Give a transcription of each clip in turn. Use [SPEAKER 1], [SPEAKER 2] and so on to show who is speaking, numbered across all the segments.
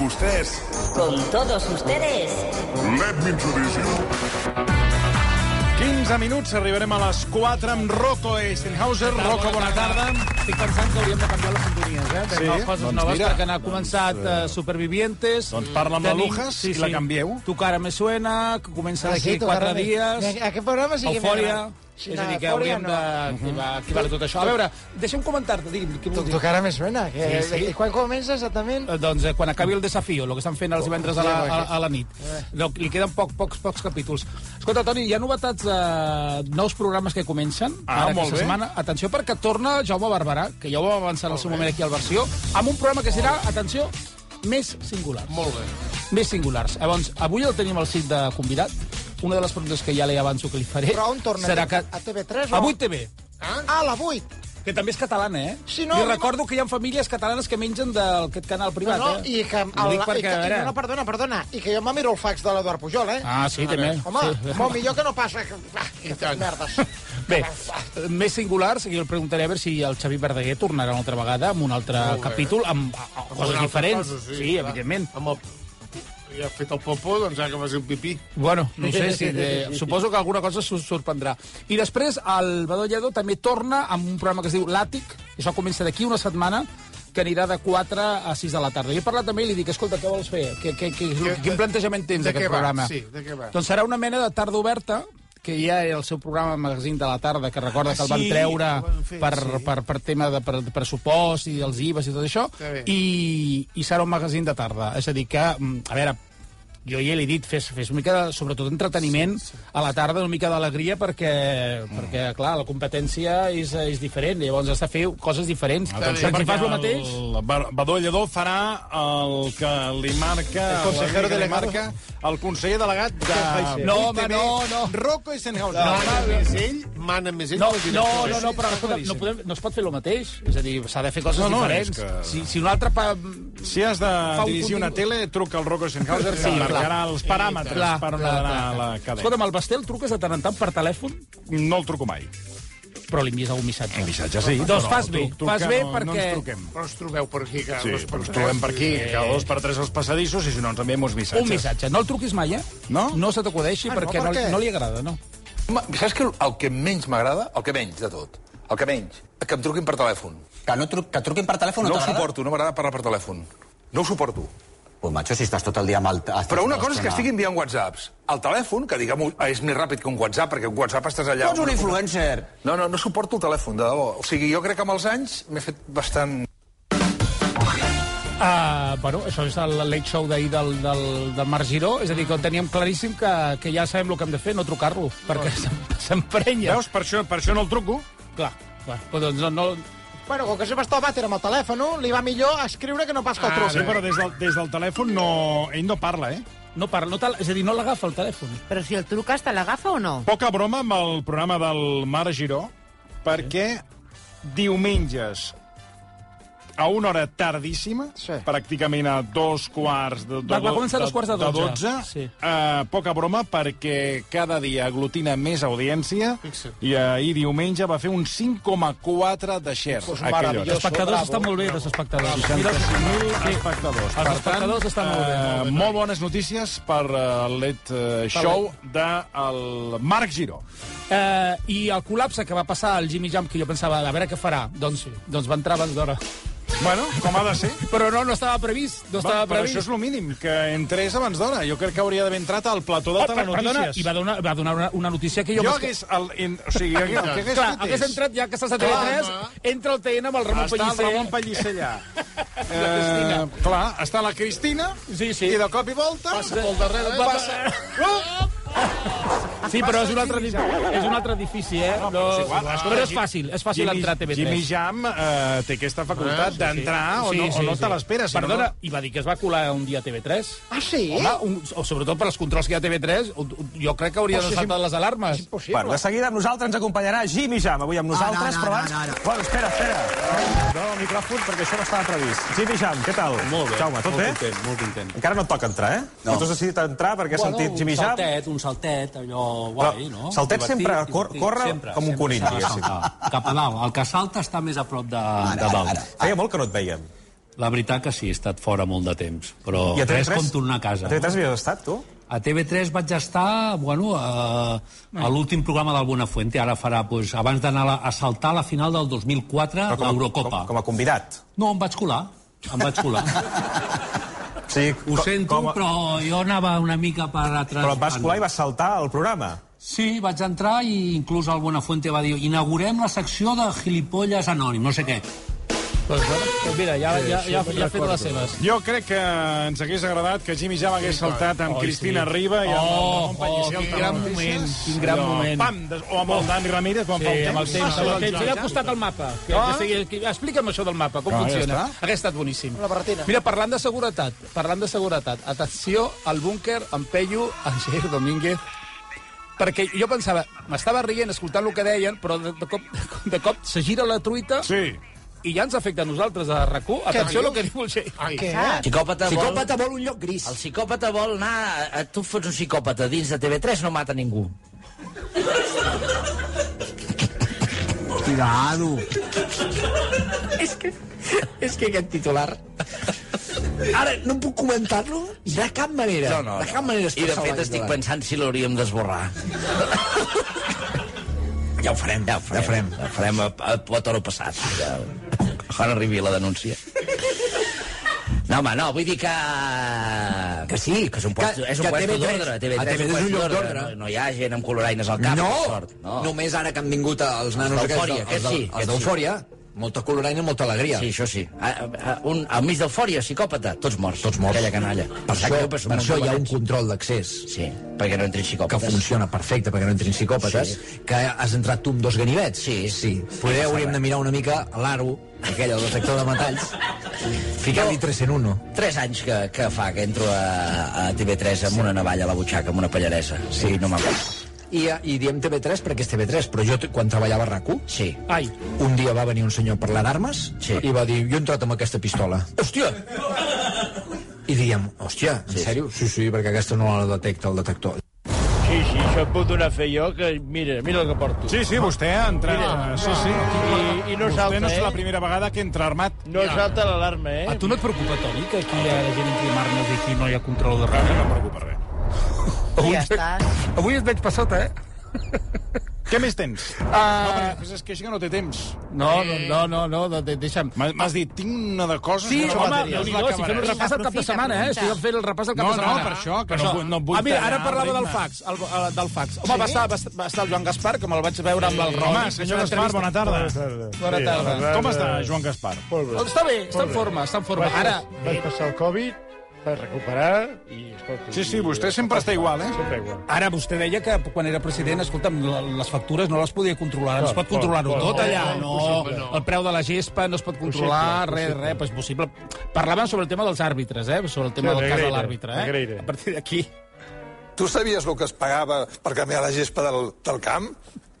[SPEAKER 1] ustedes.
[SPEAKER 2] Con todos ustedes.
[SPEAKER 1] Let me introduce you.
[SPEAKER 3] 15 minuts, arribarem a les 4 amb Rocco Eisenhauser. Rocco, bona tarda.
[SPEAKER 4] Estic pensant que hauríem de canviar les sintonies, eh? Tenim sí? coses doncs noves mira. perquè n'ha començat uh, Supervivientes.
[SPEAKER 3] Doncs parla amb Tenim... la Lujas sí, sí. i la canvieu.
[SPEAKER 4] Tu cara me suena, que comença ah, d'aquí sí, 4 dies.
[SPEAKER 5] Aquest programa eh? sí que
[SPEAKER 4] Eufòria. Sí, és a dir, que hauríem no. d'activar uh -huh. tot això. A veure, deixa'm comentar-te, digui'm. Què
[SPEAKER 5] tu, tu cara me suena. Que, sí, sí. I quan comença exactament?
[SPEAKER 4] Doncs eh, quan acabi el desafio, el que estan fent els divendres a la, a, a la nit. No, li queden poc, pocs, pocs capítols. Escolta, Toni, hi ha novetats de nous programes que comencen.
[SPEAKER 3] Ah, ara, molt bé.
[SPEAKER 4] Setmana. Atenció, perquè torna Jaume Barberà, que ja ho vam avançar en el seu moment aquí al versió, amb un programa que serà, atenció, més singulars.
[SPEAKER 3] Molt bé.
[SPEAKER 4] Més singulars. Llavors, avui el tenim al cit de convidat. Una de les preguntes que ja li avanço que li faré...
[SPEAKER 5] Però on torna?
[SPEAKER 4] Serà que...
[SPEAKER 5] A TV3
[SPEAKER 4] o...? A 8TV.
[SPEAKER 5] Ah, a la 8
[SPEAKER 4] que també és catalana, eh?
[SPEAKER 5] Si no,
[SPEAKER 4] I recordo que hi ha famílies catalanes que mengen d'aquest canal privat,
[SPEAKER 5] no, no,
[SPEAKER 4] eh?
[SPEAKER 5] I que, el, perquè, i que, i no, no, perdona, perdona, i que jo me miro el fax de l'Eduard Pujol, eh?
[SPEAKER 4] Ah, sí, també.
[SPEAKER 5] Home,
[SPEAKER 4] sí.
[SPEAKER 5] molt millor que no passa... Que, que merdes.
[SPEAKER 4] Bé, més singulars, jo el preguntaré a veure si el Xavi Verdaguer tornarà una altra vegada amb un altre oh, capítol, amb, amb coses diferents. Cosa, sí, sí evidentment.
[SPEAKER 6] Amb el ja ha fet el popó, doncs ara que va ser un pipí.
[SPEAKER 4] Bueno, no sé si... De... Suposo que alguna cosa s'ho sorprendrà. I després, el Badó també torna amb un programa que es diu L'Àtic, això comença d'aquí una setmana, que anirà de 4 a 6 de la tarda. Jo he parlat també i li dic, escolta, què vols fer? Que, que, que, que, quin plantejament tens d'aquest programa?
[SPEAKER 6] Sí, de què va?
[SPEAKER 4] Doncs serà una mena de tarda oberta, que ja era el seu programa magazín de la tarda, que recorda ah, que el van treure sí, van fer, per, sí. per, per tema de per, pressupost i els IVAs i tot això, i, i serà un magazín de tarda. És a dir que, mm, a veure, jo ja l'he dit, fes, fes una mica, de, sobretot, entreteniment sí, sí. a la tarda, una mica d'alegria, perquè, mm. perquè, clar, la competència és, és diferent, llavors has de fer coses diferents.
[SPEAKER 3] Atenció, perquè si fas el mateix... Badó Lledó farà el que li marca...
[SPEAKER 5] El consejero de la marca,
[SPEAKER 3] el conseller delegat de...
[SPEAKER 4] No, home, no, no.
[SPEAKER 5] Rocco Eisenhauser.
[SPEAKER 6] No, mana més ell, mana més ell.
[SPEAKER 4] No, no, no, no però escolta, no, podem, no es pot fer el mateix. És a dir, s'ha de fer coses no, no, diferents. Que... Si, si un altre... Pa...
[SPEAKER 3] Si has de dirigir una tele, truca al Rocco Eisenhauser, sí, marcarà els paràmetres clar, per on clar, ha d'anar la cadena.
[SPEAKER 4] Escolta'm, al Bastel truques de tant en tant per telèfon?
[SPEAKER 3] No el truco mai.
[SPEAKER 4] Però li envies algun missatge.
[SPEAKER 3] Un missatge, sí.
[SPEAKER 4] No, doncs fas bé, truca, fas bé no, perquè...
[SPEAKER 3] No ens truquem.
[SPEAKER 6] Però ens trobeu per aquí. Que
[SPEAKER 3] sí, però ens trobem per aquí, sí. cada dos per tres els passadissos, i si no ens enviem uns missatges.
[SPEAKER 4] Un missatge. No el truquis mai, eh?
[SPEAKER 3] No?
[SPEAKER 4] No se t'acudeixi ah, perquè no, per no, no li agrada, no.
[SPEAKER 7] Ma, saps que el que menys m'agrada? El que menys de tot. El que menys. Que em truquin per telèfon.
[SPEAKER 8] Que, no tru que truquin per telèfon no,
[SPEAKER 7] no t'agrada? No ho suporto, no m'agrada parlar per telèfon. No ho suporto.
[SPEAKER 8] Pues macho, si estàs tot el dia amb el...
[SPEAKER 7] Però una cosa és que estigui enviant whatsapps. El telèfon, que diguem és més ràpid que un whatsapp, perquè un whatsapp estàs allà...
[SPEAKER 8] Tu ets un influencer!
[SPEAKER 7] No, no, no suporto el telèfon, de debò. O sigui, jo crec que amb els anys m'he fet bastant...
[SPEAKER 4] Uh, bueno, això és el late show d'ahir del, del, del Marc Giró, és a dir, que ho teníem claríssim que, que ja sabem el que hem de fer, no trucar-lo, perquè oh. s'emprenya.
[SPEAKER 3] Veus, per això, per això no el truco.
[SPEAKER 4] Clar, clar. Però doncs no, no,
[SPEAKER 5] Bueno, com que sempre està al vàter amb el telèfon, li va millor escriure que no pas que el truc.
[SPEAKER 3] Ah, sí, però des del, des del telèfon no, ell no parla, eh?
[SPEAKER 4] No parla, no tal, és a dir, no l'agafa el telèfon.
[SPEAKER 9] Però si el truques, te l'agafa o no?
[SPEAKER 3] Poca broma amb el programa del Mar Giró, perquè sí. diumenges a una hora tardíssima, sí. pràcticament a dos quarts de, de,
[SPEAKER 4] va, va començar a dos quarts de dotze.
[SPEAKER 3] De 12 sí. eh, poca broma, perquè cada dia aglutina més audiència Fixa't. i ahir diumenge va fer un 5,4 de share. Pues
[SPEAKER 4] els espectadors bravo, estan molt bé, bravo. els espectadors.
[SPEAKER 3] 65.000 sí. espectadors.
[SPEAKER 4] Els espectadors tant, estan molt bé.
[SPEAKER 3] Ah, Molt, bé. molt bones notícies per uh, l'ET uh, Show del de Marc Giró.
[SPEAKER 4] Eh, I el col·lapse que va passar al Jimmy Jump, que jo pensava, a veure què farà, doncs, sí. doncs va entrar abans d'hora.
[SPEAKER 3] Bueno, com ha de ser.
[SPEAKER 4] Però no, no estava previst. No
[SPEAKER 3] Va,
[SPEAKER 4] estava
[SPEAKER 3] però
[SPEAKER 4] previst.
[SPEAKER 3] això és el mínim, que entrés abans d'hora. Jo crec que hauria d'haver entrat al plató de oh, Telenotícies.
[SPEAKER 4] I va donar, va donar una, una notícia que jo...
[SPEAKER 3] Jo hagués... El, en, o sigui, el, el que hagués
[SPEAKER 4] Clar, fet hagués entrat ja que estàs a TV3, entra el TN amb el Ramon Pellicer.
[SPEAKER 3] Està el Ramon Pellicer allà. eh, clar, està la Cristina, sí, sí. Eh, i de cop i volta...
[SPEAKER 6] Passa pel darrere, passa... passa...
[SPEAKER 4] Sí, però és un altre, és un altre edifici, eh? No, no, és igual, escolta, però és fàcil, és fàcil
[SPEAKER 3] Jimmy,
[SPEAKER 4] entrar a TV3.
[SPEAKER 3] Jimmy Jam eh, té aquesta facultat ah, sí, d'entrar sí. o no, sí, sí, o no sí. te l'esperes.
[SPEAKER 4] Perdona,
[SPEAKER 3] no...
[SPEAKER 4] i va dir que es va colar un dia a TV3.
[SPEAKER 5] Ah, sí?
[SPEAKER 4] Home, un, o sobretot per als controls que hi ha a TV3, jo crec que hauria oh, de saltar sí, les alarmes.
[SPEAKER 8] Bueno, de seguida amb nosaltres ens acompanyarà Jimmy Jam, avui amb nosaltres, ah, no, no, però abans... No, no, no. Bueno, espera, espera. No, el micròfon, perquè això no estava previst. Jimmy Jam, què tal?
[SPEAKER 10] Molt bé.
[SPEAKER 8] Jaume, tot
[SPEAKER 10] molt
[SPEAKER 8] bé?
[SPEAKER 10] Content, molt content.
[SPEAKER 8] Encara no et toca entrar, eh? No. Tu has decidit entrar perquè has sentit Jimmy Jam
[SPEAKER 10] saltet, un saltet, allò guai, no?
[SPEAKER 8] Saltet Divertit, sempre cor, corre sempre, com un conill,
[SPEAKER 10] diguéssim. Cap a dalt. El que salta està més a prop de, ara, de dalt. Ara,
[SPEAKER 8] ara, Feia molt que no et veiem.
[SPEAKER 11] La veritat que sí, he estat fora molt de temps, però
[SPEAKER 12] I a TV3?
[SPEAKER 11] és com tornar a casa.
[SPEAKER 12] A TV3 havies estat, tu?
[SPEAKER 11] A TV3 vaig estar, bueno, a, a l'últim programa del Buenafuente, ara farà, doncs, abans d'anar a la- a saltar la final del 2004,
[SPEAKER 12] Però com a-
[SPEAKER 11] l'Eurocopa.
[SPEAKER 12] com- com a convidat?
[SPEAKER 11] No, em vaig colar, em vaig colar.
[SPEAKER 12] Sí,
[SPEAKER 11] Ho sento,
[SPEAKER 12] a-
[SPEAKER 11] però jo anava una mica per atrás.
[SPEAKER 12] Però et vas colar i vas saltar el programa.
[SPEAKER 11] Sí, vaig entrar i inclús el Buenafuente va dir inaugurem la secció de gilipolles anònim, no sé què.
[SPEAKER 3] Doncs
[SPEAKER 13] mira, ja, ja, ja, ja ha fet les seves.
[SPEAKER 3] Jo crec que ens hagués agradat que Jimmy Jam hagués saltat amb
[SPEAKER 13] Oh,
[SPEAKER 3] Cristina
[SPEAKER 13] sí.
[SPEAKER 3] Riba i amb el
[SPEAKER 13] Oh,
[SPEAKER 3] Ramon Pellicer.
[SPEAKER 13] oh, quin
[SPEAKER 3] al
[SPEAKER 13] gran
[SPEAKER 3] Tarradellas.
[SPEAKER 13] moment, quin gran
[SPEAKER 3] Allò,
[SPEAKER 13] moment.
[SPEAKER 3] Pam, des- o amb el Dani Ramírez, quan
[SPEAKER 13] Sí,
[SPEAKER 3] fa el
[SPEAKER 13] Eh, amb el
[SPEAKER 3] temps.
[SPEAKER 13] temps,
[SPEAKER 3] Ah,
[SPEAKER 13] amb
[SPEAKER 3] ja,
[SPEAKER 13] el temps.
[SPEAKER 3] ja,
[SPEAKER 13] Li ha
[SPEAKER 3] ja.
[SPEAKER 13] costat el mapa. Que,
[SPEAKER 3] Ah.
[SPEAKER 13] que sigui, explica'm això del mapa, com
[SPEAKER 3] Ah, ja
[SPEAKER 13] funciona.
[SPEAKER 3] està.
[SPEAKER 13] Hauria estat boníssim.
[SPEAKER 14] La barretina.
[SPEAKER 13] Mira, parlant de seguretat, parlant de seguretat, atenció al búnquer amb Pello, en Jair Domínguez, perquè jo pensava, m'estava rient escoltant el que deien, però de, de, cop, de cop se gira la truita
[SPEAKER 3] sí.
[SPEAKER 13] i ja ens afecta a nosaltres, a RAC1. Atenció al que diu el Jair.
[SPEAKER 5] El psicòpata,
[SPEAKER 15] Psicòpata
[SPEAKER 5] vol... un lloc gris.
[SPEAKER 15] El psicòpata vol anar... a- Tu fots un psicòpata dins de TV3, no mata ningú.
[SPEAKER 5] Cuidado.
[SPEAKER 15] és que... És que aquest titular...
[SPEAKER 5] Ara, no puc comentar-lo de cap manera.
[SPEAKER 15] No, no,
[SPEAKER 5] De cap manera es
[SPEAKER 15] I de
[SPEAKER 5] passa
[SPEAKER 15] fet
[SPEAKER 5] l'any
[SPEAKER 15] estic
[SPEAKER 5] davant.
[SPEAKER 15] pensant si l'hauríem d'esborrar. Ja ho farem, ja ho farem. Ja ho farem, ja ho farem a, a, a toro passat. Ja. Quan arribi la denúncia. No, home, no, vull dir que... Que sí, que és un puesto,
[SPEAKER 5] que-
[SPEAKER 15] és un
[SPEAKER 5] que
[SPEAKER 15] puesto
[SPEAKER 5] TV3,
[SPEAKER 15] d'ordre.
[SPEAKER 5] a TV3 és un
[SPEAKER 15] puesto
[SPEAKER 5] lloc d'ordre.
[SPEAKER 15] No, no hi ha gent amb coloraines al cap,
[SPEAKER 5] no.
[SPEAKER 15] per sort.
[SPEAKER 5] no, només ara que han vingut els nanos
[SPEAKER 15] Els d'eufòria,
[SPEAKER 5] aquests,
[SPEAKER 15] aquests
[SPEAKER 5] del-
[SPEAKER 15] sí,
[SPEAKER 5] els
[SPEAKER 15] aquests
[SPEAKER 5] d'eufòria.
[SPEAKER 15] sí. Molta coloraina, molta
[SPEAKER 5] alegria.
[SPEAKER 15] Sí, això sí. A, a, un, al mig d'eufòria, psicòpata, tots morts. Tots morts. Aquella canalla.
[SPEAKER 5] Per això, per això hi ha un control d'accés.
[SPEAKER 15] Sí, perquè no entrin psicòpates.
[SPEAKER 5] Que funciona perfecte, perquè no entrin psicòpates. Sí. Que has entrat tu amb dos ganivets. Sí. sí. Poder hauríem de mirar una mica l'aro, aquella del detector de metalls. Ficar-li 3 en 1.
[SPEAKER 15] Tres anys que, que fa que entro a, a TV3 amb una navalla a la butxaca, amb una pallaresa. Sí, no m'ha
[SPEAKER 5] I,
[SPEAKER 4] eh,
[SPEAKER 5] I diem TV3 perquè és TV3, però jo t- quan treballava a RAC1...
[SPEAKER 15] Sí.
[SPEAKER 5] Ai. Un dia va venir un senyor a parlar d'armes sí. i va dir, jo he entrat amb aquesta pistola. Hòstia! I diem, hòstia, en sí, sèrio? Sí, sí, perquè aquesta no la detecta el detector.
[SPEAKER 13] Sí, sí, això et puc donar a fer jo, que mira, mira el que porto.
[SPEAKER 3] Sí, sí, vostè ha entrat. eh, sí, sí.
[SPEAKER 13] I, i no
[SPEAKER 3] vostè
[SPEAKER 13] salta,
[SPEAKER 3] no és la
[SPEAKER 13] eh?
[SPEAKER 3] primera vegada que entra armat.
[SPEAKER 13] No salta l'alarma, eh?
[SPEAKER 3] A tu
[SPEAKER 13] no et preocupa, Toni, que aquí hi ha gent amb armes i aquí no hi ha control de res?
[SPEAKER 3] No em preocupa res.
[SPEAKER 13] Avui, ja estàs. Avui et veig per sota, eh?
[SPEAKER 3] Què més tens? Uh... No, perquè és que així que no té temps.
[SPEAKER 4] No, no, no, no, no de, de, deixa'm.
[SPEAKER 3] M'has dit, tinc una de coses...
[SPEAKER 4] Sí,
[SPEAKER 3] que no
[SPEAKER 4] home,
[SPEAKER 3] m'acabaré.
[SPEAKER 4] déu nhi si fem el repàs el cap de setmana, eh? Si fem el repàs el cap
[SPEAKER 3] No,
[SPEAKER 4] de setmana.
[SPEAKER 3] no, per això, que no vull- no vull
[SPEAKER 4] Ah, mira, ara
[SPEAKER 3] tallar
[SPEAKER 4] parlava del
[SPEAKER 3] ritmes.
[SPEAKER 4] fax, el, el, del fax. Home, va, estar, va, estar, va estar el Joan Gaspar, que me'l vaig veure amb el
[SPEAKER 3] Sí.
[SPEAKER 4] Ron.
[SPEAKER 3] Home, senyor Gaspar, bona tarda.
[SPEAKER 4] Bona
[SPEAKER 3] Sí,
[SPEAKER 4] tarda.
[SPEAKER 3] bona tarda. Com està, Joan Gaspar?
[SPEAKER 7] Molt bé.
[SPEAKER 4] Oh, està bé, està en forma, està en forma.
[SPEAKER 7] Vaig,
[SPEAKER 4] Ara-
[SPEAKER 7] Vaig passar el Covid, vaig recuperar i... Escolta,
[SPEAKER 4] Sí, sí,
[SPEAKER 7] i-
[SPEAKER 4] vostè sempre està igual, eh?
[SPEAKER 7] Sempre igual.
[SPEAKER 4] Ara, vostè deia que quan era president, escolta'm, l- les factures no les podia controlar. No es pot
[SPEAKER 7] Clar,
[SPEAKER 4] controlar-ho
[SPEAKER 7] clar,
[SPEAKER 4] tot
[SPEAKER 7] clar.
[SPEAKER 4] allà.
[SPEAKER 7] No,
[SPEAKER 4] No,
[SPEAKER 7] impossible, no.
[SPEAKER 4] el preu de la gespa no es pot controlar,
[SPEAKER 7] Possible,
[SPEAKER 4] res,
[SPEAKER 7] possible.
[SPEAKER 4] res, és possible. Parlàvem sobre el tema dels àrbitres, eh? Sobre el tema
[SPEAKER 7] Sí,
[SPEAKER 4] del cas de
[SPEAKER 7] Negreira,
[SPEAKER 4] l'àrbitre, eh?
[SPEAKER 7] Negreira.
[SPEAKER 4] A partir d'aquí...
[SPEAKER 16] Tu sabies el que es pagava per canviar la gespa del, del camp?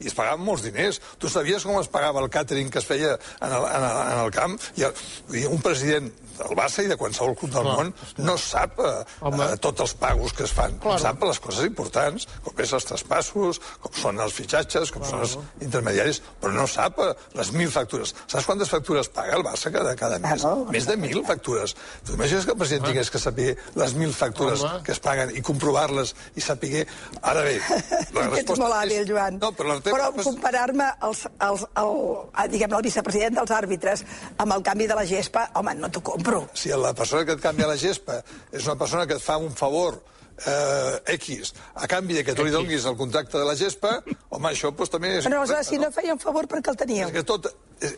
[SPEAKER 16] I es pagaven molts diners. Tu sabies com es pagava el càtering que es feia en el, en el, en el camp? I el, vull dir, un president del Barça i de qualsevol club del món no sap eh, eh, tots els pagos que es fan. Claro. Sap les coses importants, com és els traspassos, com són els fitxatges, com claro. són els intermediaris, però no sap eh, les mil factures. Saps quantes factures paga el Barça cada, cada mes? Més de mil factures. Tu imagines que el president tingués que saber les mil factures
[SPEAKER 17] Home.
[SPEAKER 16] que es paguen i comprovar-les i saber... Ara bé, la
[SPEAKER 17] Ets
[SPEAKER 16] resposta
[SPEAKER 17] molt hàbil, Joan. No,
[SPEAKER 16] però la teva
[SPEAKER 17] però
[SPEAKER 16] resposta-
[SPEAKER 17] comparar-me als, als, al, a, diguem Ah, el vicepresident dels àrbitres amb el canvi de la gespa, home, no t'ho compro.
[SPEAKER 16] si la persona que et canvia la gespa és una persona que et fa un favor eh, X, a canvi de que tu li donis el contracte de la gespa, home, això doncs, també és...
[SPEAKER 17] Però no, aleshores, si no feia un favor, per què el teníeu?
[SPEAKER 16] És que tot...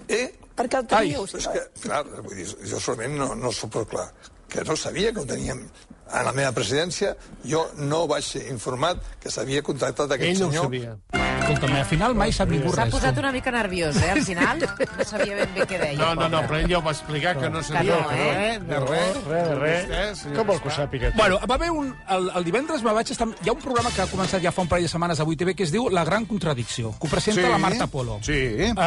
[SPEAKER 16] Eh?
[SPEAKER 17] Per què el teníeu? si
[SPEAKER 16] és
[SPEAKER 17] no?
[SPEAKER 16] que, clar, vull dir, jo solament no, no s'ho però clar, que no sabia que ho teníem a la meva presidència, jo no vaig ser informat que s'havia contractat aquest
[SPEAKER 4] Ell no ho
[SPEAKER 16] senyor.
[SPEAKER 4] sabia. Escolta'm, al final mai sap ningú
[SPEAKER 18] S'ha
[SPEAKER 4] res.
[SPEAKER 18] posat una mica nerviós, eh, al final. No sabia ben bé què deia.
[SPEAKER 19] No, no, no, però ell ja ho va explicar, que no sabia
[SPEAKER 18] no,
[SPEAKER 19] que no,
[SPEAKER 18] eh?
[SPEAKER 19] de res, de res.
[SPEAKER 7] Com vol que ho sàpiga? tu?
[SPEAKER 4] Bueno, va haver un... El, el divendres me vaig estar... Hi ha un programa que ha començat ja fa un parell de setmanes a 8TV que es diu La gran contradicció, que ho presenta
[SPEAKER 3] Sí.
[SPEAKER 4] la Marta Polo.
[SPEAKER 3] Sí.
[SPEAKER 4] Uh,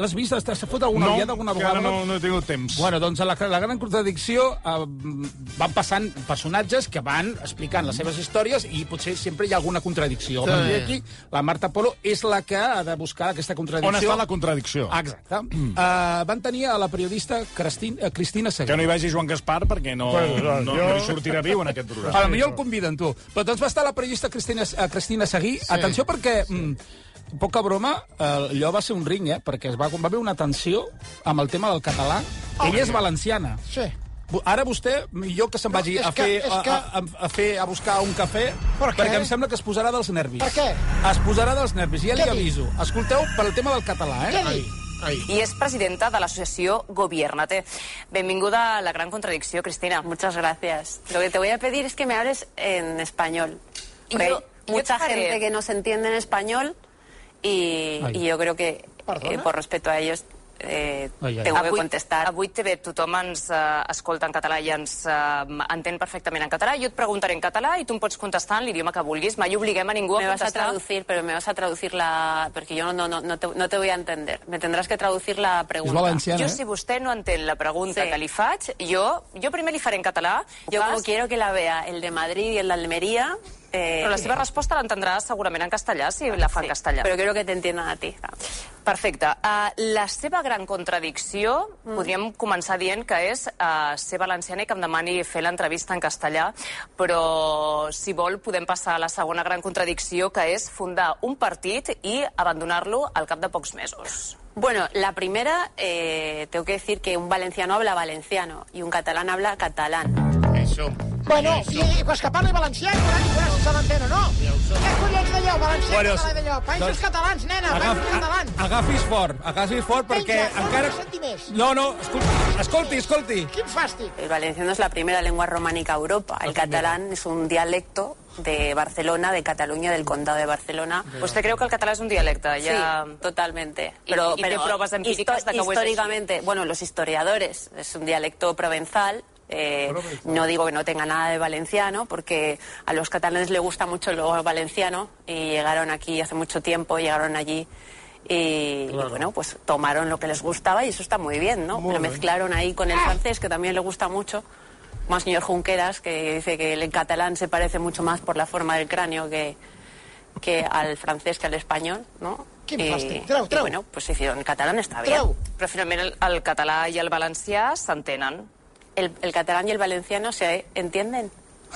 [SPEAKER 4] L'has vist? Estàs fot alguna
[SPEAKER 3] No,
[SPEAKER 4] no, alguna
[SPEAKER 3] que ara
[SPEAKER 4] vegada?
[SPEAKER 3] no- no he tingut temps.
[SPEAKER 4] Bueno, doncs a la, la gran contradicció uh, van passant personatges que van explicant les seves històries i potser sempre hi ha alguna contradicció.
[SPEAKER 3] Sí.
[SPEAKER 4] Sí. Aquí, la Marta Polo és la que ha de buscar aquesta contradicció.
[SPEAKER 3] On està la contradicció?
[SPEAKER 4] Exacte. Mm. Uh, van tenir a la periodista Cristin, uh, Cristina Seguer.
[SPEAKER 3] Que no hi vagi Joan Gaspar perquè no, pues, no, no, jo... no hi sortirà viu en aquest programa.
[SPEAKER 4] A lo millor el conviden, tu. Però doncs va estar la periodista Cristina, uh, Cristina Seguí. Sí. Atenció perquè... Sí. Mm, poca broma, allò va ser un ring, eh? Perquè es va, va haver una tensió amb el tema del català. Oh, Ella és valenciana.
[SPEAKER 5] Sí.
[SPEAKER 4] Ara vostè, millor que se'n vagi no, a, fer, que, que... A, a, a, fer, a buscar un cafè, per què? perquè em sembla que es posarà dels nervis.
[SPEAKER 5] Per què?
[SPEAKER 4] Es posarà dels nervis, ja li aviso. Escolteu, pel tema del català, eh?
[SPEAKER 5] Què Ai.
[SPEAKER 16] Ai. I és presidenta de l'associació Gobiernate. Benvinguda a la gran contradicció, Cristina.
[SPEAKER 15] Muchas gracias. Lo que te voy a pedir es que me hables en español.
[SPEAKER 16] Y yo,
[SPEAKER 15] mucha
[SPEAKER 16] yo
[SPEAKER 15] gente que no se entiende en español y, y yo creo que, eh, por respeto a ellos, eh, ai, ai. tengo avui, que contestar.
[SPEAKER 16] Avui TV tothom ens eh, escolta en català i ens eh, entén perfectament en català. Jo et preguntaré en català i tu em pots contestar en l'idioma que vulguis. Mai obliguem a ningú
[SPEAKER 15] me
[SPEAKER 16] a contestar.
[SPEAKER 15] Me vas a traducir, pero me vas a traducir la... Porque yo no, no, no, te, no te voy a entender. Me tendrás que traducir la pregunta.
[SPEAKER 4] És valenciana,
[SPEAKER 16] jo,
[SPEAKER 4] eh?
[SPEAKER 16] si vostè no entén la pregunta sí. que li faig, jo, jo primer li faré en català.
[SPEAKER 15] Jo fas... como quiero que la vea el de Madrid y el de Almería,
[SPEAKER 16] Eh, Però la seva resposta l'entendràs segurament en castellà, si la fa sí, en castellà.
[SPEAKER 15] Però quiero que t'entiendan a ti.
[SPEAKER 16] Perfecte.
[SPEAKER 15] Ah,
[SPEAKER 16] Uh, la seva gran contradicció, mm. podríem començar dient que és uh, ser valenciana i que em demani fer l'entrevista en castellà, però, si vol, podem passar a la segona gran contradicció, que és fundar un partit i abandonar-lo al cap de pocs mesos.
[SPEAKER 15] Bueno, la primera, eh, tengo que decir que un valenciano habla valenciano y un catalán habla catalán.
[SPEAKER 20] Eso.
[SPEAKER 5] Bueno, i, i pues que parli valencià, corani, corani, se l'entén o no? Ja Què collons d'allò, valencià, bueno, català d'allò? Països doncs... catalans, nena, agaf, països catalans.
[SPEAKER 4] Agafis fort, agafis fort, perquè Penja, encara... No, no, escolti, escolti, escolti.
[SPEAKER 5] Quin fàstic.
[SPEAKER 15] El valenciano es la primera lengua románica Europa. El catalán es un dialecto de Barcelona, de Cataluña, del condado de Barcelona. Pues
[SPEAKER 16] Yeah. ¿Usted cree que el catalán es un dialecto?
[SPEAKER 15] Ya... Sí, totalmente.
[SPEAKER 16] Pero, ¿Y, y pero qué pruebas empíricas de que
[SPEAKER 15] Históricamente, bueno, los historiadores, es un dialecto provenzal, eh, no digo que no tenga nada de valenciano, porque a los catalanes les gusta mucho lo valenciano y llegaron aquí hace mucho tiempo, llegaron allí y, claro. y bueno, pues tomaron lo que les gustaba y eso está muy bien, ¿no? Muy lo bien. mezclaron ahí con el francés, que también le gusta mucho. Más señor Junqueras, que dice que el catalán se parece mucho más por la forma del cráneo que, que al francés que al español, ¿no? Eh,
[SPEAKER 5] Quin fàstic. Treu, treu.
[SPEAKER 15] I, bueno, pues hicieron si catalán, está bien.
[SPEAKER 5] Treu.
[SPEAKER 16] Però finalment el, el català i el valencià s'entenen.
[SPEAKER 15] El, el, catalán y el valenciano se entienden.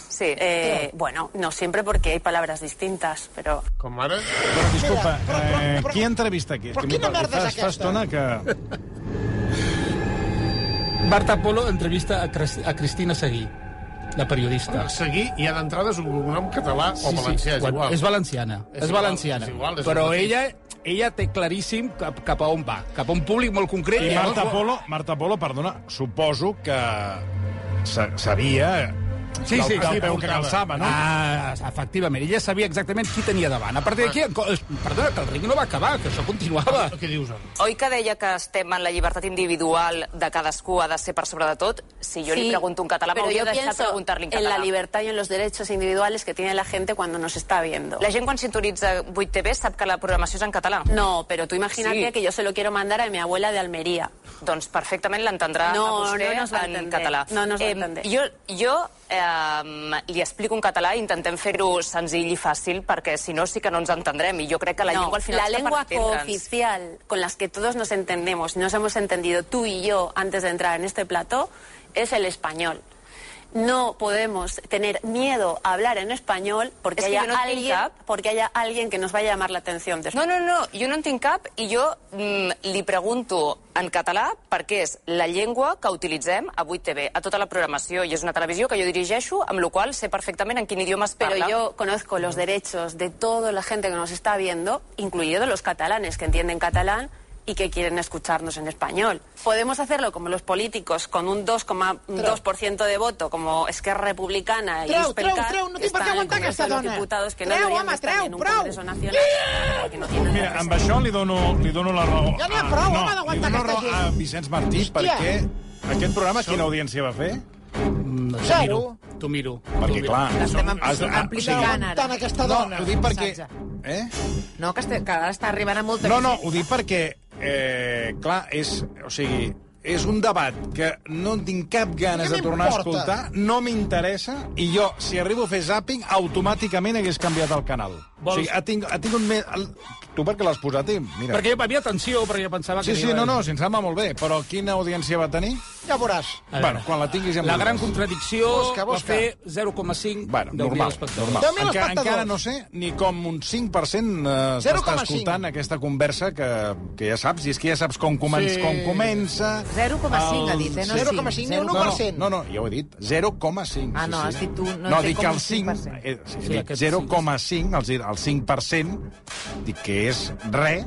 [SPEAKER 16] Sí.
[SPEAKER 15] Eh, bueno, no siempre porque hay palabras distintas, pero...
[SPEAKER 20] Com ara?
[SPEAKER 3] Però, disculpa, però, però, però, però, eh, qui entrevista aquí?
[SPEAKER 5] Però quina merda és aquesta?
[SPEAKER 3] Fa estona que...
[SPEAKER 4] Marta Polo entrevista a, Crist a Cristina Seguí la periodista.
[SPEAKER 20] Ah, seguir, i a l'entrada és un cognom català sí, o valencià, sí. és igual.
[SPEAKER 4] És valenciana, és, és valenciana. Igual, és igual, és però igual. ella ella té claríssim cap, cap a on va, cap a un públic molt concret.
[SPEAKER 3] I Marta no... Polo, Marta Polo, perdona, suposo que sabia
[SPEAKER 4] Sí, sí,
[SPEAKER 3] del peu que calçava, no?
[SPEAKER 4] Ah, efectivament, ella sabia exactament qui tenia davant. A partir
[SPEAKER 20] Ah.
[SPEAKER 4] d'aquí, perdona, que el ring no va acabar, que això continuava.
[SPEAKER 20] Què dius, ara?
[SPEAKER 16] Oi que deia que estem en la llibertat individual de cadascú, ha de ser per sobre de tot? Si jo sí, li pregunto en català, m'hauria de deixar preguntar-li en català.
[SPEAKER 15] en la libertad y en los derechos individuales que tiene la gente cuando nos está viendo.
[SPEAKER 16] La gent quan sintonitza 8TV sap que la programació és en català.
[SPEAKER 15] No, però tu imagínate sí. que yo se lo quiero mandar a mi abuela de Almería.
[SPEAKER 16] Doncs perfectament l'entendrà
[SPEAKER 15] no,
[SPEAKER 16] a vostè
[SPEAKER 15] no nos
[SPEAKER 16] en català.
[SPEAKER 15] No, no eh,
[SPEAKER 16] jo, jo eh, li explico en català i intentem fer-ho senzill i fàcil perquè si no sí que no ens entendrem i jo crec que la
[SPEAKER 15] no,
[SPEAKER 16] llengua al final
[SPEAKER 15] la lengua cooficial con las que todos nos entendemos nos hemos entendido tú y yo antes de entrar en este plató es el español no podemos tener miedo a hablar en español porque, es que haya, no alguien, cap. porque haya alguien que nos vaya a llamar la atención.
[SPEAKER 16] Después. No, no, no, jo no en tinc cap i jo mm, li pregunto en català perquè és la llengua que utilitzem a 8TV, a tota la programació, i és una televisió que jo dirigeixo, amb la qual sé perfectament en quin idioma es parla.
[SPEAKER 15] Pero yo conozco los derechos de toda la gente que nos está viendo, incluido los catalanes que entienden catalán, y que quieren escucharnos en español. Podemos hacerlo como los políticos, con un 2,2% de voto, como Esquerra Republicana
[SPEAKER 5] treu,
[SPEAKER 15] y Espercar,
[SPEAKER 5] treu, treu, no tinc per què aguantar aquesta dona.
[SPEAKER 15] Diputados que
[SPEAKER 5] treu,
[SPEAKER 15] no home,
[SPEAKER 5] estar treu,
[SPEAKER 15] en un
[SPEAKER 5] prou.
[SPEAKER 15] Congreso Nacional, yeah! que no tienen
[SPEAKER 3] Mira, amb això li dono, li dono la raó. Ah,
[SPEAKER 5] Ja n'hi ha prou,
[SPEAKER 3] no,
[SPEAKER 5] home, d'aguantar aquesta gent.
[SPEAKER 3] a Vicenç Martí, Hòstia. perquè aquest programa quina audiència va fer?
[SPEAKER 5] No, Zero.
[SPEAKER 4] T'ho miro.
[SPEAKER 3] Perquè, clar...
[SPEAKER 21] L'estem amplificant, ara.
[SPEAKER 5] Tant aquesta dona.
[SPEAKER 3] No, Ah, ho dic perquè... Eh?
[SPEAKER 21] No, que, este, que ara està arribant a molta...
[SPEAKER 3] No, no, ho dic perquè eh, clar, és, o sigui, és un debat que no tinc cap ganes de tornar a escoltar, no m'interessa, i jo, si arribo a fer zàping, automàticament hagués canviat el canal. Vols? O sigui, ha tingut, ha tingut més... Tu perquè l'has posat i mira...
[SPEAKER 4] Perquè jo havia tensió, perquè jo pensava
[SPEAKER 3] Sí,
[SPEAKER 4] que...
[SPEAKER 3] sí, no, no, si em sembla molt bé, però quina audiència va tenir?
[SPEAKER 5] Ja veuràs.
[SPEAKER 3] Bueno, quan la tinguis... ja em
[SPEAKER 4] La
[SPEAKER 3] ho
[SPEAKER 4] gran
[SPEAKER 3] diràs.
[SPEAKER 4] contradicció
[SPEAKER 5] Busca, busca.
[SPEAKER 4] va fer 0,5
[SPEAKER 3] Bueno,
[SPEAKER 4] del
[SPEAKER 3] normal, normal.
[SPEAKER 5] Deu mil
[SPEAKER 3] Encara,
[SPEAKER 5] espectadors.
[SPEAKER 3] encara no sé ni com un 5% eh, s'està
[SPEAKER 5] 0,5.
[SPEAKER 3] escoltant aquesta conversa que, que ja saps, i és que ja saps com, comen
[SPEAKER 5] Sí.
[SPEAKER 3] com comença...
[SPEAKER 15] 0,5
[SPEAKER 3] Um,
[SPEAKER 5] Um,
[SPEAKER 15] ha dit, eh? No
[SPEAKER 5] 0,5,
[SPEAKER 15] 5.
[SPEAKER 5] ni un
[SPEAKER 3] No,
[SPEAKER 5] 1%.
[SPEAKER 3] no, no, ja ho he dit, 0,5.
[SPEAKER 15] Ah, no, has dit tu, no,
[SPEAKER 3] no dic que el 5...
[SPEAKER 15] 5%.
[SPEAKER 3] Eh, sí,
[SPEAKER 4] Sí,
[SPEAKER 3] dic
[SPEAKER 4] aquest
[SPEAKER 3] 0,5, el, el 5%, dic que és re,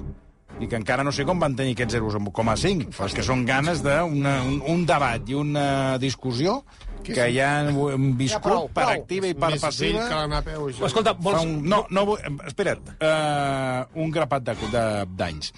[SPEAKER 3] i que encara no sé com van tenir aquests 0,5, però és que són ganes d'un un debat i una discussió que ja ho hem viscut
[SPEAKER 5] prou,
[SPEAKER 3] per
[SPEAKER 5] prou.
[SPEAKER 3] activa i per
[SPEAKER 1] Més
[SPEAKER 3] passiva.
[SPEAKER 1] vell que l'anar a peu, això.
[SPEAKER 4] Escolta,
[SPEAKER 3] Fa
[SPEAKER 4] vols...
[SPEAKER 3] un, no, no, vull- em- espera't. Uh, un grapat de de- d'anys.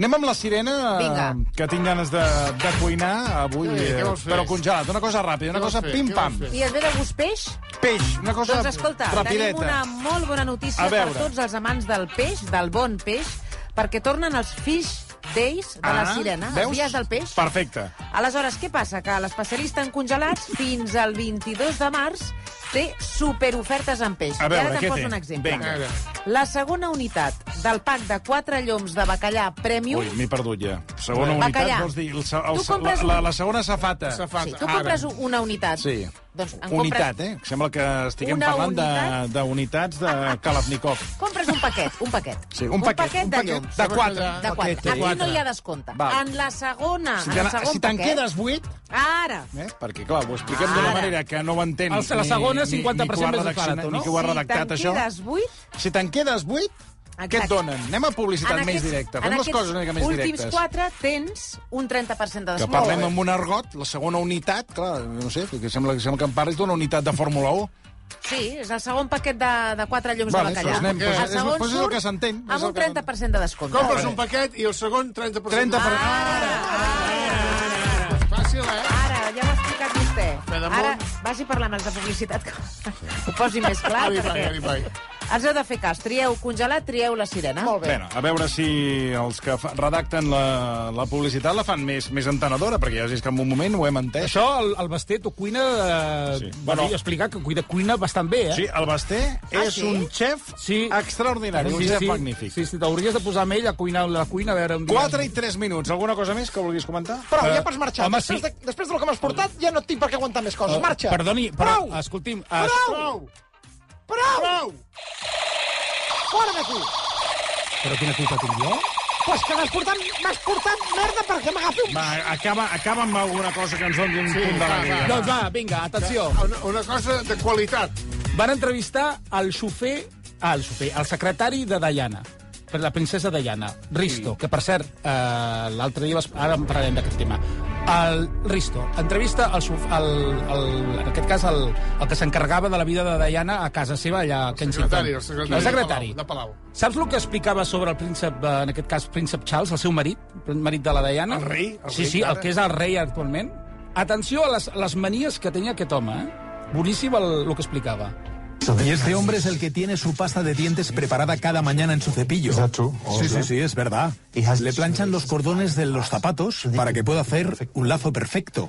[SPEAKER 3] Anem amb la sirena, eh,
[SPEAKER 15] Vinga.
[SPEAKER 3] que tinc ganes de, de cuinar avui,
[SPEAKER 1] Sí, què
[SPEAKER 3] eh,
[SPEAKER 1] vols fer?
[SPEAKER 3] però congelat. Una cosa ràpida, una
[SPEAKER 1] Què vols
[SPEAKER 3] cosa
[SPEAKER 1] fer? Què
[SPEAKER 3] pim-pam.
[SPEAKER 1] vols fer?
[SPEAKER 15] I es ve de gust peix?
[SPEAKER 3] Peix, una cosa
[SPEAKER 15] Doncs escolta,
[SPEAKER 3] rapideta.
[SPEAKER 15] tenim una molt bona
[SPEAKER 3] A
[SPEAKER 15] notícia per
[SPEAKER 3] veure.
[SPEAKER 15] tots els amants del peix, del bon peix, perquè tornen els fish days de la
[SPEAKER 3] Ah,
[SPEAKER 15] sirena,
[SPEAKER 3] veus?
[SPEAKER 15] els dies del peix.
[SPEAKER 3] Perfecte.
[SPEAKER 15] Aleshores, què passa? Que l'especialista en congelats fins al 22 de març té superofertes en peix.
[SPEAKER 3] A veure,
[SPEAKER 15] I ara
[SPEAKER 3] què
[SPEAKER 15] te'n poso
[SPEAKER 3] té?
[SPEAKER 15] un exemple.
[SPEAKER 3] Vinga. A veure.
[SPEAKER 15] La segona unitat del pack de 4 lloms de bacallà Premium...
[SPEAKER 3] Ui, m'he perdut ja. Segona unitat,
[SPEAKER 15] Bacallà.
[SPEAKER 3] vols dir, el, se- el,
[SPEAKER 15] Tu
[SPEAKER 3] se-
[SPEAKER 15] compres
[SPEAKER 3] la, la,
[SPEAKER 15] un-
[SPEAKER 3] la segona safata.
[SPEAKER 15] Sí, tu compres una unitat.
[SPEAKER 3] Sí.
[SPEAKER 15] Doncs en
[SPEAKER 3] Unitat,
[SPEAKER 15] compres,
[SPEAKER 3] eh? Sembla que estiguem
[SPEAKER 15] Una
[SPEAKER 3] parlant
[SPEAKER 15] unitat?
[SPEAKER 3] d'unitats de, de Kalashnikov.
[SPEAKER 15] Compres un paquet, un paquet.
[SPEAKER 3] Sí, un paquet,
[SPEAKER 15] paquet
[SPEAKER 3] un
[SPEAKER 15] de
[SPEAKER 3] paquet
[SPEAKER 15] lloms.
[SPEAKER 3] de quatre.
[SPEAKER 15] De quatre.
[SPEAKER 3] Paquet,
[SPEAKER 15] Aquí
[SPEAKER 3] quatre.
[SPEAKER 15] no hi ha descompte.
[SPEAKER 3] Val.
[SPEAKER 15] En la segona,
[SPEAKER 3] Si
[SPEAKER 15] Ah, en
[SPEAKER 3] te'n
[SPEAKER 15] el segon
[SPEAKER 3] si te'n
[SPEAKER 15] paquet...
[SPEAKER 3] quedes 8,
[SPEAKER 15] Ara.
[SPEAKER 3] Eh? Perquè, clar, ho expliquem d'una
[SPEAKER 15] Ara.
[SPEAKER 3] manera que no ho entén...
[SPEAKER 4] El- la
[SPEAKER 3] ni-
[SPEAKER 4] segona,
[SPEAKER 3] ni- ni
[SPEAKER 4] 50%
[SPEAKER 3] qui ho ha
[SPEAKER 4] més
[SPEAKER 3] redaccionat,
[SPEAKER 4] barato, no?
[SPEAKER 3] Ni que ho ha redactat,
[SPEAKER 15] si
[SPEAKER 3] això.
[SPEAKER 15] te'n quedes 8,
[SPEAKER 3] Si te'n quedes 8, què
[SPEAKER 15] Exacte.
[SPEAKER 3] et donen? Anem a publicitat
[SPEAKER 15] en
[SPEAKER 3] més
[SPEAKER 15] aquests,
[SPEAKER 3] directa.
[SPEAKER 15] en
[SPEAKER 3] Fem les
[SPEAKER 15] aquests
[SPEAKER 3] coses una mica més
[SPEAKER 15] últims
[SPEAKER 3] directes.
[SPEAKER 15] 4 tens un 30% de
[SPEAKER 3] Que
[SPEAKER 15] descompte.
[SPEAKER 3] parlem amb un argot, la segona unitat, clar, no sé, que sembla, sembla que em parlis d'una unitat de Fórmula 1.
[SPEAKER 15] Sí, és el segon paquet de, de 4 llums
[SPEAKER 3] Vale,
[SPEAKER 15] de bacallà.
[SPEAKER 3] doncs anem, doncs
[SPEAKER 15] el
[SPEAKER 3] és-
[SPEAKER 15] segon
[SPEAKER 3] doncs és el
[SPEAKER 15] surt
[SPEAKER 3] que s'entén, és el
[SPEAKER 15] Amb un
[SPEAKER 3] que s'entén.
[SPEAKER 15] 30% de descompte.
[SPEAKER 1] Compres un paquet i el segon 30%.
[SPEAKER 3] 30 per...
[SPEAKER 15] Ah,
[SPEAKER 1] Fàcil, eh?
[SPEAKER 15] Ara, ja ho ha explicat vostè.
[SPEAKER 1] Pedamunt.
[SPEAKER 15] Ara, vagi parlant amb els de publicitat que ho posi més clar.
[SPEAKER 1] Ari, vai,
[SPEAKER 15] perquè
[SPEAKER 1] Ari, vai.
[SPEAKER 15] Els heu de fer cas. Trieu congelat, trieu la sirena. Molt
[SPEAKER 3] Bé, a veure si els que fa- redacten la, la publicitat la fan més, més entenedora, perquè ja has vist que en un moment ho hem entès.
[SPEAKER 4] Això, el, el Bastet ho cuina... Eh,
[SPEAKER 3] Sí.
[SPEAKER 4] sí.
[SPEAKER 3] Bueno.
[SPEAKER 4] Bueno, explicar que cuina, cuina bastant bé, eh?
[SPEAKER 3] Sí, el Basté
[SPEAKER 15] Ah,
[SPEAKER 3] és
[SPEAKER 15] sí?
[SPEAKER 3] un xef
[SPEAKER 4] Sí.
[SPEAKER 3] extraordinari, un xef magnífic.
[SPEAKER 4] Sí, sí, t'hauries de posar amb ell a cuinar la cuina, a veure... Un dia.
[SPEAKER 3] 4 i 3 minuts. Alguna cosa més que vulguis comentar?
[SPEAKER 5] Prou,
[SPEAKER 4] Eh,
[SPEAKER 5] ja pots marxar.
[SPEAKER 4] home,
[SPEAKER 5] després,
[SPEAKER 4] sí.
[SPEAKER 5] de, després del que m'has portat, ja no tinc per què aguantar més coses. Marxa.
[SPEAKER 4] Perdoni, però,
[SPEAKER 5] Prou!
[SPEAKER 4] escolti'm...
[SPEAKER 5] Prou!
[SPEAKER 4] Es...
[SPEAKER 5] Prou! Prou! Fora d'aquí!
[SPEAKER 4] Però quina culpa tinc jo?
[SPEAKER 5] Pues que m'has portat, m'has portat merda perquè m'agafi un...
[SPEAKER 3] Va, acaba, acaba amb alguna cosa que ens doni un sí, punt
[SPEAKER 1] va,
[SPEAKER 3] d'alegria.
[SPEAKER 4] Doncs va, vinga, atenció.
[SPEAKER 1] Una, una cosa de qualitat.
[SPEAKER 4] Van entrevistar el xofer... Ah, el xofer, el secretari de Diana per la princesa Diana, Risto, que per cert, eh, l'altre dia... vas- Ara en parlarem d'aquest tema. El Risto entrevista el, xof- el, el, en aquest cas el, el que s'encarregava de la vida de Diana a casa seva allà a Kensington.
[SPEAKER 1] secretari, el secretari
[SPEAKER 4] El secretari.
[SPEAKER 1] de Palau, de Palau.
[SPEAKER 4] Saps el que explicava sobre el príncep, eh, en aquest cas príncep Charles, el seu marit, el marit de la Diana?
[SPEAKER 1] El rei, el
[SPEAKER 4] sí,
[SPEAKER 1] rei,
[SPEAKER 4] sí,
[SPEAKER 1] ara.
[SPEAKER 4] el que és el rei actualment. Atenció a les, les manies que tenia aquest home, eh? Boníssim el, el que explicava.
[SPEAKER 12] Y este hombre es el que tiene su pasta de dientes preparada cada mañana en su cepillo. Sí, sí, sí, es verdad. Le planchan los cordones de los zapatos para que pueda hacer un lazo perfecto.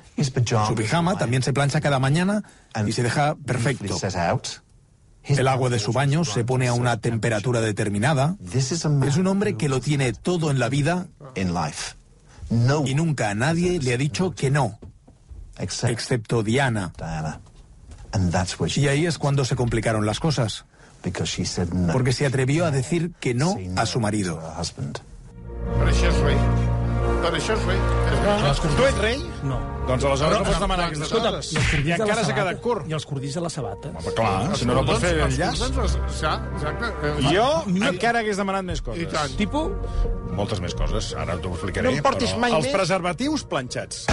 [SPEAKER 12] Su pijama también se plancha cada mañana y se deja perfecto. El agua de su baño se pone a una temperatura determinada. Es un hombre que lo tiene todo en la vida y nunca a nadie le ha dicho que no, excepto Diana. Y ahí es cuando se complicaron las cosas, porque se atrevió a decir que no a su marido.
[SPEAKER 1] Per això és rei. Per això és rei.
[SPEAKER 3] Tu ets rei?
[SPEAKER 4] No.
[SPEAKER 3] Doncs aleshores no,
[SPEAKER 4] Però-
[SPEAKER 3] pots demanar aquestes
[SPEAKER 4] Escolta,
[SPEAKER 3] coses.
[SPEAKER 4] i els cordills
[SPEAKER 3] I
[SPEAKER 4] de la
[SPEAKER 3] encara s'ha
[SPEAKER 4] sabata-
[SPEAKER 3] quedat curt.
[SPEAKER 4] I els cordills de les sabates.
[SPEAKER 3] Home, clar, si no, no pots fer enllaç.
[SPEAKER 1] Doncs, ja, exacte. Eh,
[SPEAKER 3] Jo encara hagués demanat més
[SPEAKER 1] I
[SPEAKER 3] coses.
[SPEAKER 1] tant.
[SPEAKER 4] Tipo,
[SPEAKER 3] Moltes més coses, ara t'ho explicaré.
[SPEAKER 5] No em portis
[SPEAKER 3] però
[SPEAKER 5] mai
[SPEAKER 3] Els
[SPEAKER 5] més.
[SPEAKER 3] preservatius planxats.